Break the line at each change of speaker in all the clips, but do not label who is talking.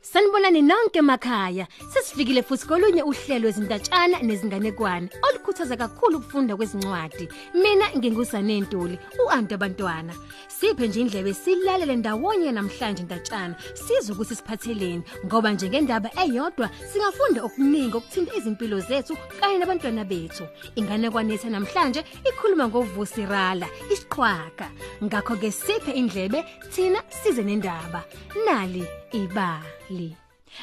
Sanibonani nonke emakhaya. Sesifikile futhi kolunye uhlelo ezintatshana nezinganekwane olukhuthaza kakhulu ukufunda kwezincwadi. Mina ngingusane Ntuli, uAntu abantwana. Siphe nje indlebe silalele ndawonye namhlanje intatshana. Sizwe ukuthi siphatheleni ngoba nje ngendaba eyodwa singafunda okuningi okuthinta izimpilo zethu kanye nabantwana bethu. Inganekwane ethe namhlanje ikhuluma ngovusi Rala, isiqhwaga. Ngakho ke siphe indlebe thina size nendaba. Nali ibali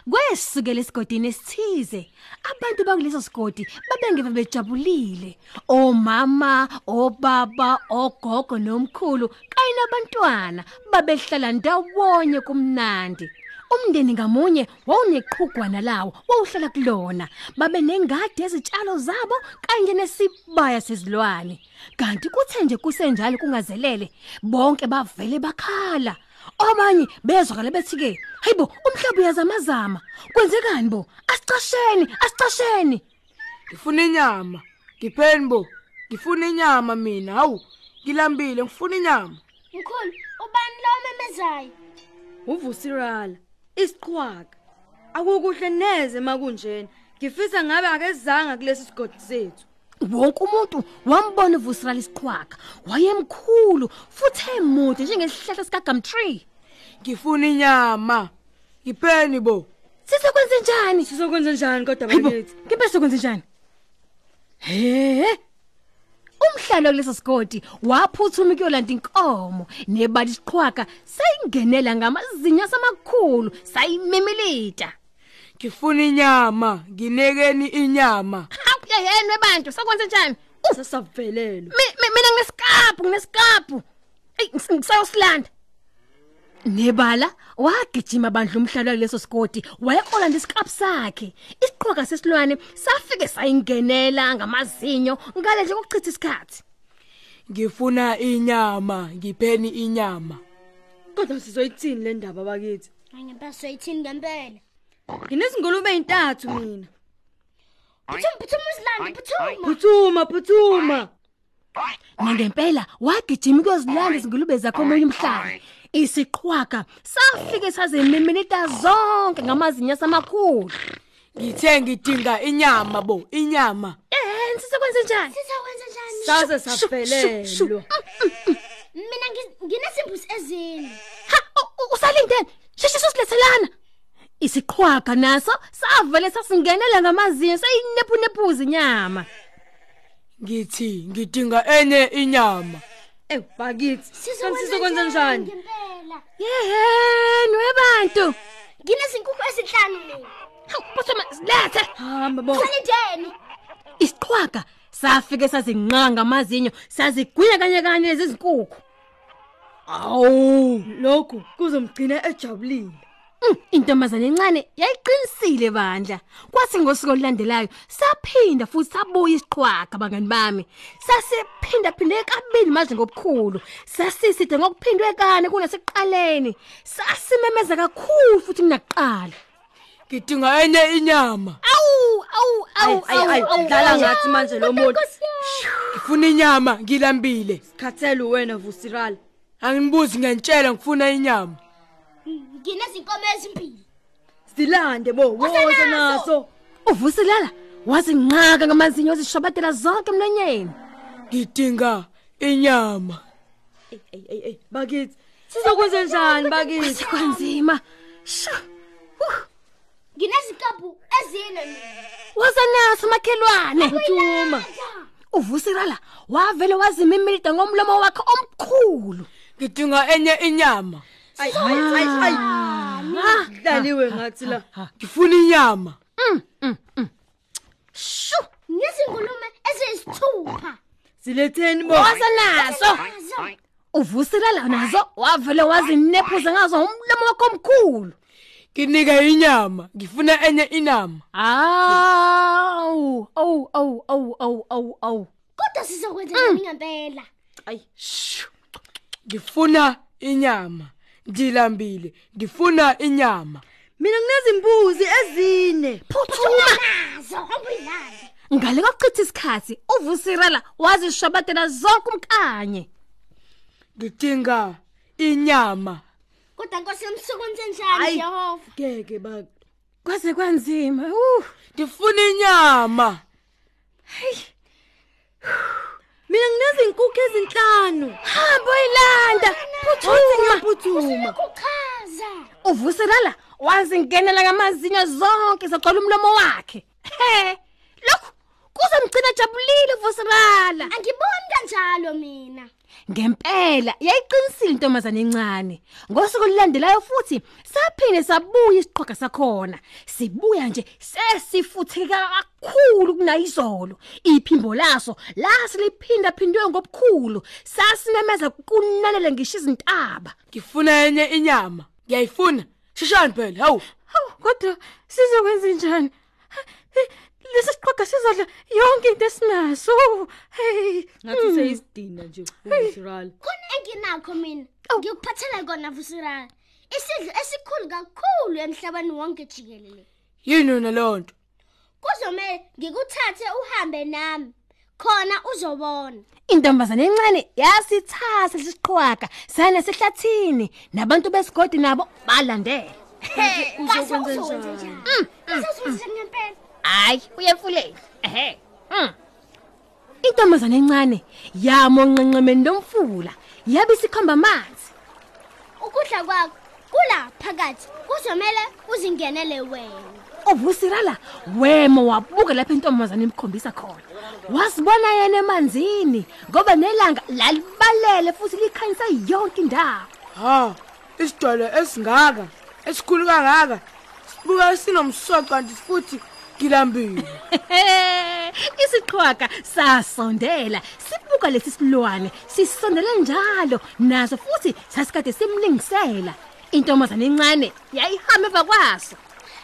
kwesukela esigodini esithize abantu bakuleso sigodi babengeve bejabulile omama obaba ogogo nomkhulu kanye nabantwana babehlala ndawonye kumnandi umndeni ngamunye wawuneqhugwana lawo wawuhlala kulona babe nengadi ezitshalo zabo kanje nesibaya sezilwane kanti kuthe nje kusenjalo kungazelele bonke bavele bakhala abanye bezwakala bethi ke hayibo umhlabu uyazamazama kwenzekani bo asicasheni asicasheni
ngifuna inyama ngipheni bo ngifuna inyama mina hawu ngilambile ngifuna inyama
Mkhulu, ubani lo memezayo?
uvusirala isiqhwaga akukuhle neze makunjena ngifisa ngabe akezanga kulesi sigodi sethu
wonke umuntu wambona uvusirala isiqhwaga wayemkhulu futhi emude njengesihlahla sika gumtree
ngifuna inyama ngipheni bo
sisekwenze njani
sizokwenza njani kodwa
hayibo
bakithi
ngempela sekwenze njani he umhlalo kuleso sigodi waphuthuma kuyolanda inkomo nebali siqhwaga sayingenela ngamazinya samakhulu sayimemilita
ngifuna inyama nginekeni inyama
akuyeyenwe bantu sakwenze njani Uh,
sasavelelwe
mi- mi- mina nginesikaphu nginesikaphu eyi ngis- ngisayosilanda nebala wagijima bandla umhlalo kuleso sigodi wayekolanda isikaphu sakhe isiqhwaga sesilwane safike sayingenela ngamazinyo ngale nje kokuchitha isikhathi
ngifuna inyama ngipheni inyama
kodwa sizoyithini le ndaba bakithi
Angempela yithini ngempela?
nginezingulube ezintathu mina
Phuthuma phuthuma usilanda phuthuma.
phuthuma phuthuma
nangempela wagijima ukuyozilanda izingulube zakhe omunye umhlaba isiqhwaga safike sazimemenita zonke ngamazinyo samakhulu
ngithe ngidinga inyama bo inyama
eh sisekwenze njani
Sizokwenza njani?
saze
shu, shu, shu. Mm.
savelelwe
Mina ngi- nginezimbuzi ezine.
Ha u- u- usalindeni? Sheshe sisilethelana. Isiqhwaga naso savele sasingenela ngamazinyo sayinephunepuzi inyama.
ngithi ngidinga enye inyama
ew bakithi kanti sizokwenza njani
Ngempela.
Yehenu ebantu.
Nginezinkukhu ezinhlanu mina.
Hawu buthoma silethe.
hamba bo
Salindeni.
Isiqhwaga safike sazinqanga amazinyo sazigwinya kanye kanye lezi zinkukhu. Awu,
lokhu kuzomgcina ejabulile
Mm, intombazane encane yayiqinisile bandla. Kwathi ngosuku olulandelayo saphinda futhi sabuya isiqhwaga bangani bami. Sasiphinda phinde kabili manje ngobukhulu. Sasiside ngokuphindwe kane kunasekuqaleni. Sasimemeza kakhulu futhi kunakuqala.
ngidinga enye inyama
Awu, awu, awu,
Ayi, ayi,
awu, awu,
dlala
awu.
ngathi manje lo
Kodwa
muntu.
Nkosi yami.
ngifuna inyama ngilambile
khathele wena vusirala
angibuzi ngentshela ngifuna inyama
Nginezinkomo ezimbili.
silande bo woze naso
Uvusilala wazinqaka ngamazinyo zishobatela zonke emlonyeni.
ngidinga inyama
Ey, ey ey ey bakithi sizokwenza njani bakithi
Sekwanzima. Shu. Uh,
Nginezinkabu ezine mina.
Wazanaso makhelwane.
phuthuma
uvusirala wavele wazimimilida ngomlomo wakhe omkhulu
ngidinga enye inyama
ayi ayi ayi Ah, daliwe ngathi la
ngifuna inyama
shu
Nginezingulume eziyisithupha.
siletheni bo
wazanazo
Azo.
uvusirala nazo wavele wazinephuza ngazo umlomo wakhe omkhulu
nginike inyama ngifuna enye inama
awu awu awu awu awu awu awu
Kodwa sizokwenza njani ngempela?
ayi
ngifuna inyama ngilambile ngifuna inyama
mina nginezimbuzi ezine
phuthuma
Azo, ngobuyilanda.
ngale kokuchitha isikhathi uvusirala wazishabatela zonke umkanye
ngidinga inyama
Kodwa nkosi yami sizokwenza njani
Hayi.
Jehova?
ngeke bak
kwaze kwanzima uh
ndifuna inyama
mina nginezinkukhu ezinhlanu
hamba uyilanda phuthuma
phuthuma
kuchaza
uvuselala wazingenela ngamazinyo zonke zagqola umlomo wakhe he lokhu kuzomgcina jabulile uvuselala
angiboni kanjalo mina
ngempela yayiqinisile intombazane encane ngosuku olulandelayo futhi saphinde sabuya isiqhoga sakhona sibuya nje sesifutheka kakhulu kunayizolo iphimbo laso lasiliphinda phindwe ngobukhulu sasinameza kunanele ngisho izintaba
ngifuna enye inyama ngiyayifuna shishani phela hawu
hawu kodwa sizokwenza njani lesi siqoga sizodla yonke into esinaso hey ngathi seyisidina nje uSirala
khona enginakho mina ngikuphathela kona vusirana isidlo esikhulu kakhulu emhlabeni wonke jikelele
yini yona leyo nto
kuzomele ngikuthathe uhambe nami khona uzobona
Intombazane encane yasithatha lesiqhwaka sana sehlathini nabantu besigodi nabo balandela.
uzokwenza njani Mm, uzokwenza ngempela
Hayi, uyemfuleni. Ehhe. Mm. Intombazane encane yamonqenqemeni lomfula yabe sikhomba amanzi.
ukudla kwakho kula phakathi kuzomele uzingenele wena
Uvusirala wema wabuka lapho intombazane imkhombisa khona. Wasibona yena emanzini ngoba nelanga lalibalele futhi likhanyisa yonke indawo.
ha isidalwa esingaka esikhulu kangaka sibuka sinomsoco kanti futhi ngilambile
isiqhwaka sasondela sibuka lesi silwane sisondele njalo naso futhi sasikade simlingisela intombazane encane yayihamba emva kwaso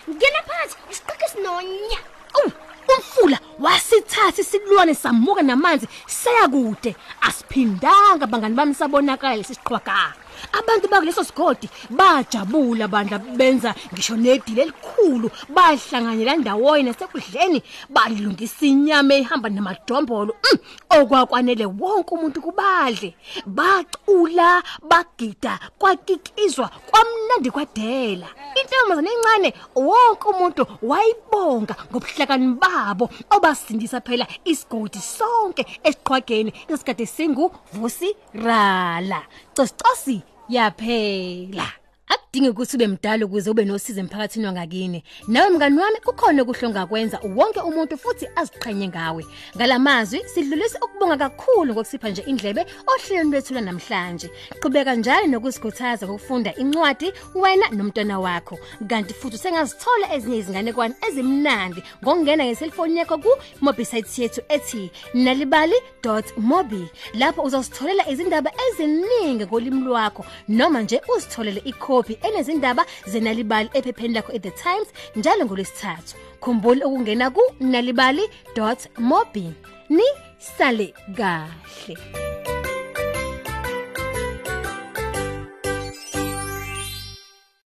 ngena phakathi isiqheke sinonya
Um, umfula wasithatha isilwane samuka namanzi saya kude asiphindanga bangani bami sabonakala lesi siqhwaka abantu bakuleso sigodi bajabula bandla benza ngisho nedile elikhulu bahlanganyela ndawonye nasekudleni balungisa inyama ehamba namadombolo mm, okwakwanele wonke umuntu kubadle bacula bagida kwakikizwa kwamnandi kwadela intombazane encane wonke umuntu wayibonga ngobuhlakani babo obasindisa phela isigodi sonke esiqhwageni esikade singuvusi rala cosicosi yaphela akudingi ukuthi ube mdala ukuze ube nosizo emphakathini wangakini nawe mngani wami kukhona okuhle ongakwenza wonke umuntu futhi aziqhenye ngawe ngalamazwi sidlulisa ukubonga kakhulu ngokusipha nje indlebe ohlelweni lwethu namhlanje qhubeka njalo nokuzikhuthaza ngokufunda incwadi wena nomntwana wakho kanti futhi sengazithola ezinye izinganekwane ezimnandi ngokungena ngeselfoni yakho ku mobisite yethu ethi nalibali.mobi lapho uzositholela izindaba eziningi ngolimi lwakho noma nje uzitholele ikhophi enezindaba zenalibali ephepheni lakho at the times njalo ngolwesithathu khumbula ukungena ku nalibali.mobi ni sale kahle